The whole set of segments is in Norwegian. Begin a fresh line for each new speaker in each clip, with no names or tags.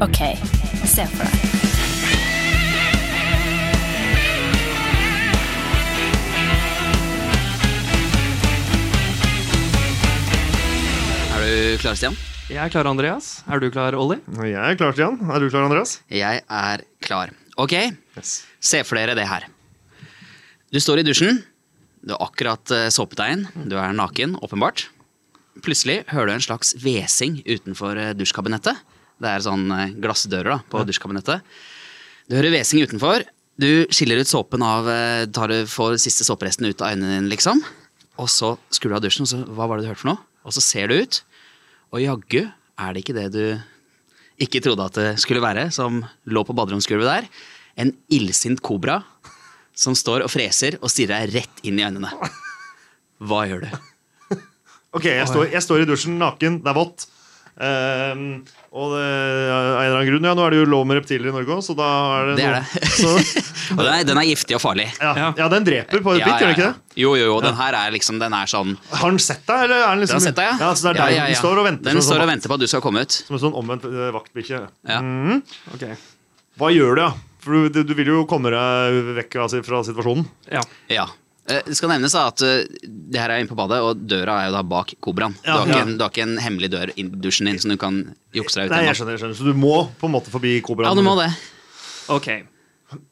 OK, se for deg.
Er du klar, Stian?
Jeg er klar, Andreas. Er du klar, Olli?
Jeg er klar, Stian. Er du klar, Andreas?
Jeg er klar. Ok,
Yes.
se for dere det her. Du står i dusjen. Du har akkurat eh, såpet deg inn. Du er naken, åpenbart. Plutselig hører du en slags hvesing utenfor eh, dusjkabinettet. Det er sånn eh, glassdører da, på dusjkabinettet. Du hører hvesing utenfor. Du skiller ut såpen av eh, tar du, Får siste såperesten ut av øynene dine, liksom. Og så skrur du av dusjen, og så hva var det du hørte for noe? Og så ser du ut, og jaggu er det ikke det du ikke trodde at det skulle være, som lå på baderomsgulvet der. En illsint kobra som står og freser og stirrer deg rett inn i øynene. Hva gjør du?
Ok, jeg står, jeg står i dusjen naken, det er vått. Ehm, og det, av en eller annen grunn, ja, nå er det jo lov med reptiler i Norge òg, så da er det
Det er
noe-
det.
Så,
Og den er, den er giftig og farlig.
ja, ja, den dreper på et
Ja,
bitt, gjør den ikke
ja, ja.
det?
Jo, jo, jo. Den her er liksom Den er sånn
Har den sett deg, eller er den
Den
liksom
har sett deg, ja.
så det er
Ja,
deg
ja,
den
ja.
står og venter
Den
som,
står og
som,
venter på at du skal komme ut.
som en sånn omvendt eh, vaktbikkje.
Ja.
Mhm.
Ok.
Hva gjør du, da? For du, du vil jo komme deg vekk av- fra situasjonen.
Ja.
Ja. Eh, Det skal nevnes da at eh, det her er inne på badet, og døra er jo da bak kobraen. Du,
Ja,
har ikke
ja.
en- du har ikke en hemmelig dør i dusjen din som du kan jukse deg ut
Nei, jeg
gjennom.
skjønner, jeg skjønner. Så du må på en måte forbi kobraen?
Ja, du må det.
Ok.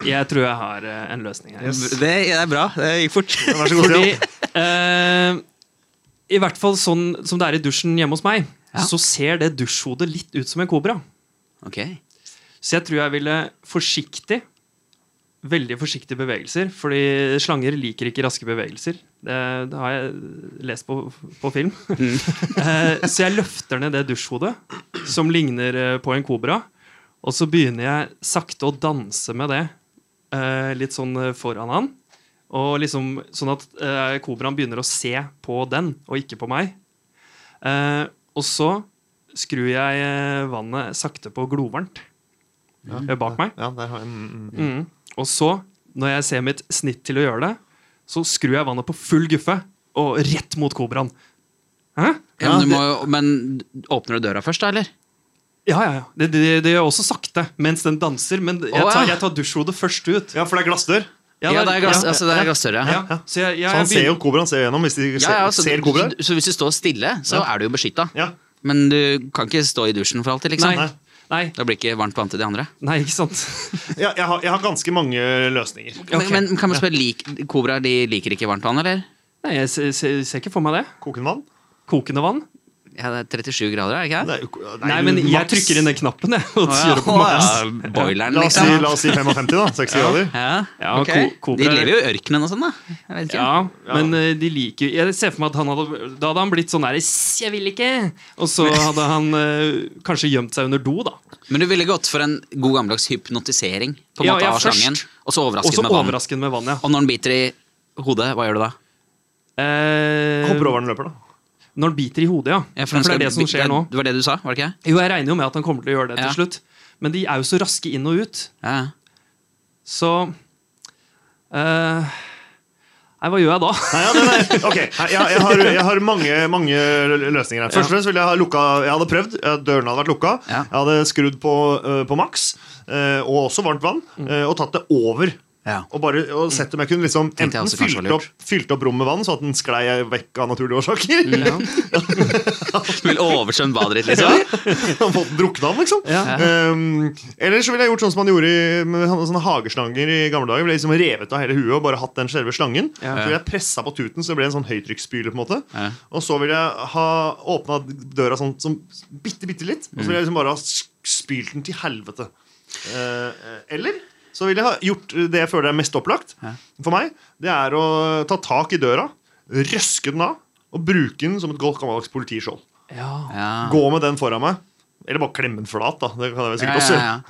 Jeg tror jeg har eh, en løsning her.
Det er bra. Det gikk fort.
Vær så god,
Fordi
Stian.
eh, I hvert fall sånn som det er i dusjen hjemme hos meg,
Ja.
så ser det dusjhodet litt ut som en kobra.
Ok.
Så jeg tror jeg ville forsiktig Veldig forsiktige bevegelser, fordi slanger liker ikke raske bevegelser. Det, det har jeg lest på, på film. Eh, så jeg løfter ned det dusjhodet, som ligner eh, på en kobra, og så begynner jeg sakte å danse med det eh, litt sånn eh, foran han. Og liksom, sånn at eh, kobraen begynner å se på den, og ikke på meg. Eh, og så skrur jeg eh, vannet sakte på glovarmt eh, bak meg.
Ja, der har jeg mm, mm.
Mm. Og så, når jeg ser mitt snitt til å gjøre det, så skrur jeg vannet på full guffe og rett mot kobraen. Hæ?
Ja, men, du må jo, men åpner du døra først, da, eller?
Ja, ja, ja. Det, det, det gjør jeg også sakte mens den danser, men jeg
Å, ja.
tar, jeg tar dusjhodet først ut.
Ja, for det er glassdør.
Ja, det er, glass,
ja,
altså, det er glassdøra.
ja. Så jeg, jeg,
Så han ser
begynner-
jo kobraen ser jo gjennom hvis de ser,
Ja, altså, ja, så,
ser kobraer.
så, så hvis du står stille, så er du jo beskytta.
Ja.
Men du kan ikke stå i dusjen for alltid, liksom.
Nei, nei,
Da blir det ikke varmt vann til de andre.
nei, ikke sant?
Ja, jeg, har, jeg har ganske mange løsninger.
Ok.
Men, men kan man spørre, lik, Kobraer de liker ikke varmt vann, eller?
Nei, jeg ser, ser, ser ikke for meg det.
Kokende vann?
Kokende vann?
Ja, det er 37 grader, er det ikke det?
Nei, ko-
Nei, men jeg trykker inn den knappen, jeg. Og
Å,
kjører på
ja.
maks.
Å, ja, Boileren,
La oss si,
liksom.
la oss si 55, da. 60 grader.
Ja,
Ja,
ok.
ko-
De
kobraer-
lever jo i ørkenen og sånn, da. Jeg vet ikke.
Ja, men eh, de liker Jeg ser for meg at han hadde, da hadde han blitt sånn der «Sss, Jeg vil ikke! Og så hadde han eh, kanskje gjemt seg under do, da.
Men du ville gått for en god gammeldags hypnotisering på en
Ja,
måte,
ja,
av slangen,
først.
og så
Og
overrasket
så
med vann.
overraske den med vann, ja.
Og når den biter i hodet, hva gjør du da?
Eh,
Hopper over den løper, da.
når den biter i hodet, ja.
Ja,
for,
den
det er
skal-
det som skjer nå.
Det var det du sa, var det ikke?
Jo, jeg regner jo med at han kommer til å gjøre det til
Ja.
slutt. Men de er jo så raske inn og ut,
Ja, ja.
så eh, Nei, hva gjør jeg da?
Nei, ja, det, nei. Ok, nei, jeg, jeg har, jeg har mange, mange løsninger her. Først og fremst ville jeg ha lukka Jeg hadde prøvd. eh, Dørene hadde vært lukka.
Ja.
Jeg hadde skrudd på, eh, på maks, eh, og også varmt vann,
Mm.
eh, og tatt det over.
Ja.
Og bare og sett om jeg kunne liksom
jeg
enten
også kanskje var
fylt
lurt.
opp, fylt opp rommet med vann, så at den sklei vekk av naturlige årsaker.
Du vil oversvømme badet ditt, liksom?
Han fått drukna han, liksom.
Ja.
Um, eller så ville jeg gjort sånn som man gjorde i, med han- sånne hageslanger i gamle dager. Ville liksom revet av hele huet og bare hatt den selve slangen.
Ja.
Så ville jeg pressa på tuten, så det ble en sånn høytrykksspyle. på en måte
Ja.
Og så ville jeg ha åpna døra sånn som bitte, bitte litt. Og så ville jeg liksom bare ha s- spylt den til helvete. Eh, eller så ville jeg ha gjort det jeg føler er mest opplagt
Ja.
for meg. Det er å ta tak i døra, røske den av og bruke den som et godt gammeldags politiskjold.
Ja.
Ja.
Gå med den foran meg. Eller bare klemme den flat, da. Det kan jeg vel
Ja, ja,
sikkert
ja.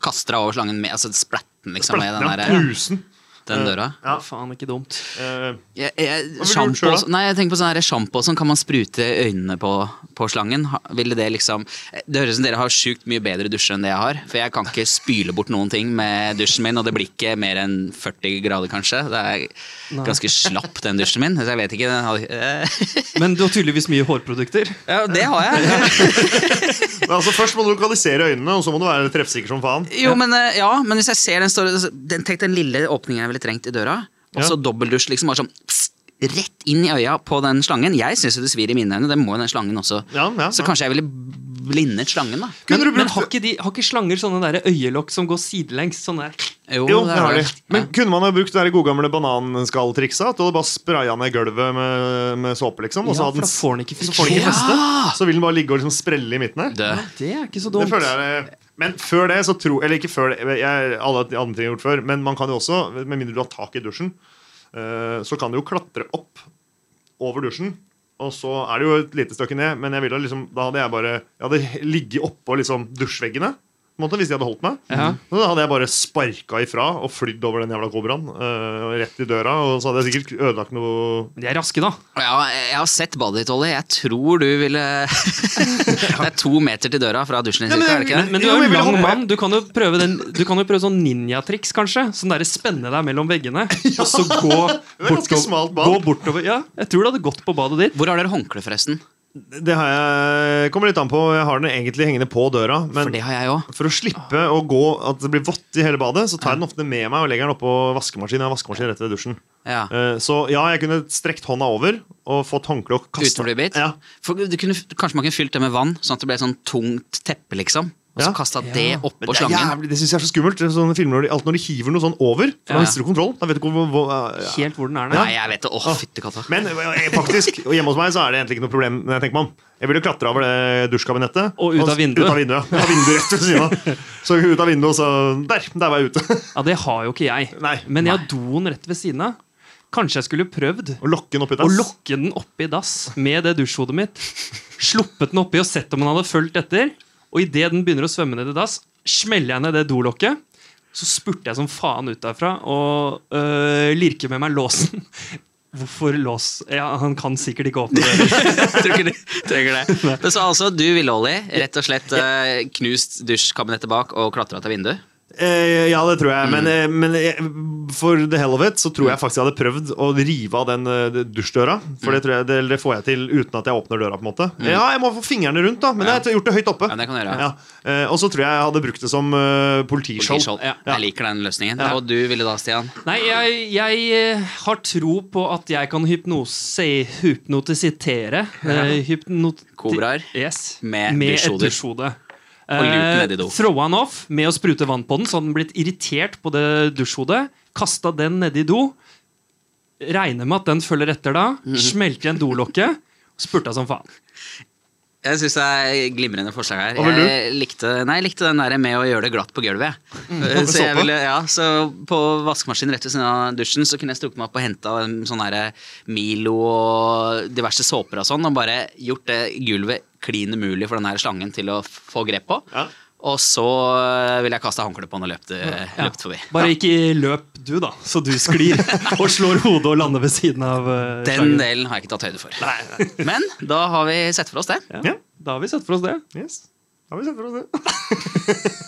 Kaster deg over slangen med altså splatten, liksom,
også gjøre.
med den
Ja,
der,
Knusen.
den
Eh,
døra.
Ja.
Faen, ikke dumt.
eh,
Jeg, jeg,
du gjort
sjampo,
selv, da?
nei, jeg tenker på sånn her sjampo som kan man sprute øynene på, på slangen. Ha- Ville det liksom Det høres ut som dere har sjukt mye bedre dusjer enn det jeg har. For jeg kan ikke spyle bort noen ting med dusjen min, og det blir ikke mer enn 40 grader, kanskje. Det er ganske slapp, den dusjen min. Så jeg vet ikke. Den hadde,
Men du har tydeligvis mye hårprodukter.
ja, det har jeg.
men altså, først må du lokalisere øynene, og så må du være treffsikker som faen.
Jo, men, eh, ja, men hvis jeg ser den store den, Tenk den lille åpningen jeg ville trengt i døra. Og så
Ja.
dobbeldusj, liksom bare sånn pss, rett inn i øya på den slangen. Jeg syns jo det svir i mine øyne, det må jo den slangen også.
Ja, ja,
Så
ja.
kanskje jeg ville blindet slangen, da.
Kunne
Men,
du brukt-
men har, ikke de, har ikke slanger sånne der øyelokk som går sidelengs? Sånn der.
Jo, det har de.
vel-
Men
ja.
kunne man ha brukt det der gode gamle bananskalltrikset? At du hadde bare spraya ned gulvet med, med såpe, liksom? Og så
Ja, for
hadde den
da får den ikke
så får den ikke
friksjon.
feste. Så vil den bare ligge og liksom sprelle i midten her.
Død.
Ja, det er ikke så dumt.
Det føler jeg eh, Men før det, så tror Eller ikke før det, jeg, alle de andre ting jeg har gjort før, men man kan jo også, med mindre du har tak i dusjen, eh, så kan du jo klatre opp over dusjen. Og så er det jo et lite stykke ned, men jeg ville liksom, da hadde jeg bare Jeg hadde ligget oppå liksom dusjveggene. på en måte, Hvis de hadde holdt meg.
Ja.
Og Da hadde jeg bare sparka ifra og flydd over den jævla kobraen. eh, og rett i døra, og så hadde jeg sikkert ødelagt noe
Men De er raske, da.
Ja, jeg har sett badet ditt, Ollie. Jeg tror du ville Det er to meter til døra fra dusjen din,
men
cirka, er det
jeg-
ikke det?
Men du
Jo,
er
men
jo
jeg vil
lang
hoppe-
mann. Du kan jo prøve, den, du kan jo prøve sånn ninjatriks, kanskje. Sånn derre spenne deg mellom veggene, og så gå
er ganske
bortover,
smalt bad.
gå bortover. Ja, jeg tror det hadde gått på badet ditt.
Hvor har dere håndkle, forresten?
Det har jeg, kommer litt an på. Jeg har den egentlig hengende på døra. Men
For det har jeg òg.
For å slippe å gå at det blir vått i hele badet, så tar jeg den ofte med meg og legger den oppå vaskemaskinen. Jeg har vaskemaskin rett ved dusjen.
Ja.
Eh, Så ja, jeg kunne strekt hånda over og fått håndkle og
Uten
kasta
å bli bitt?
Ja.
For du kunne, kanskje man kunne fylt det med vann, sånn at det ble et sånn tungt teppe, liksom. Og så
Ja.
kasta
Ja.
det
Men
oppå
det er
slangen.
jævlig, det syns jeg er så skummelt. Det er Sånne filmer når de, alt når de hiver noe sånn over, for
Ja.
da mister du kontroll. Da vet du ikke hvor, hvor ja. Ah.
Helt hvor den er nå.
Nei, jeg vet det. Å, fytti katta.
Men eh, faktisk, og hjemme hos meg så er det egentlig ikke noe problem. når Jeg tenker meg om. Jeg ville klatra over det dusjkabinettet.
Og ut av vinduet.
Ut av vinduet, ja. Ut av vinduet rett ved siden av. Så ut av vinduet, og så Der! Der var jeg ute.
Ja, det har jo ikke jeg.
Nei.
Men jeg har doen rett ved siden av. Kanskje jeg skulle prøvd
Og lokke den opp i
å
dass.
lokke den oppi dass med det dusjhodet mitt. Sluppet den oppi og sett om den hadde fulgt etter. Og idet den begynner å svømme ned i dass, smeller jeg ned det dolokket. Så spurte jeg som faen ut derfra og øh, lirker med meg låsen. Hvorfor lås? Ja, Han kan sikkert ikke åpne døren.
Tror ikke du trenger det. Men så altså, du ville, Ollie, rett og slett eh, knust dusjkabinettet bak og klatra ut av vinduet.
Eh, ja, det tror jeg.
Mm.
Men, eh, men jeg, for the hell of it så tror jeg faktisk jeg hadde prøvd å rive av den eh, dusjdøra.
Mm.
For det, tror jeg, det, det får jeg til uten at jeg åpner døra. på en måte Ja, jeg må få fingrene rundt, da. Men
Ja.
jeg har gjort det høyt oppe.
Ja, det kan du gjøre.
Ja. Eh, og så tror jeg jeg hadde brukt det som eh, politiskjold.
Politiskjold.
Ja.
Jeg liker den løsningen.
Ja.
Og du ville da, Stian?
Nei, jeg, jeg eh, har tro på at jeg kan hypnose, hypnotisitere eh, hypnot
Kobraer.
Yes.
Med
et
dusjhoder. Og
dusjhode.
luten
Eh,
ned i do.
Throwa han off med å sprute vann på den, så hadde den blitt irritert på det dusjhodet. Kasta den nedi do. Regner med at den følger etter da.
Mhm.
Smelte igjen dolokket. Spurta som faen.
Jeg syns det er glimrende forslag her.
Hva vil du?
Jeg likte, nei, jeg likte den der med å gjøre det glatt på gulvet. jeg.
Mm.
Eh, Så, jeg
såpass.
ville, ja, så på vaskemaskinen rett ved siden av dusjen Så kunne jeg strukket meg opp og henta sånn her Milo og diverse såper og sånn, og bare gjort det gulvet klin umulig for den her slangen til å f- få grep på.
Ja.
Og så eh, ville jeg kasta håndkleet på den og løpt, eh,
Ja.
løpt forbi.
Bare ikke løp du, da, så du sklir og slår hodet og lander ved siden av eh,
Den
slangen.
delen har jeg ikke tatt høyde for. Men da har vi sett for oss det.
Ja, da har vi sett for oss det.
Yes. Da har vi sett for oss det.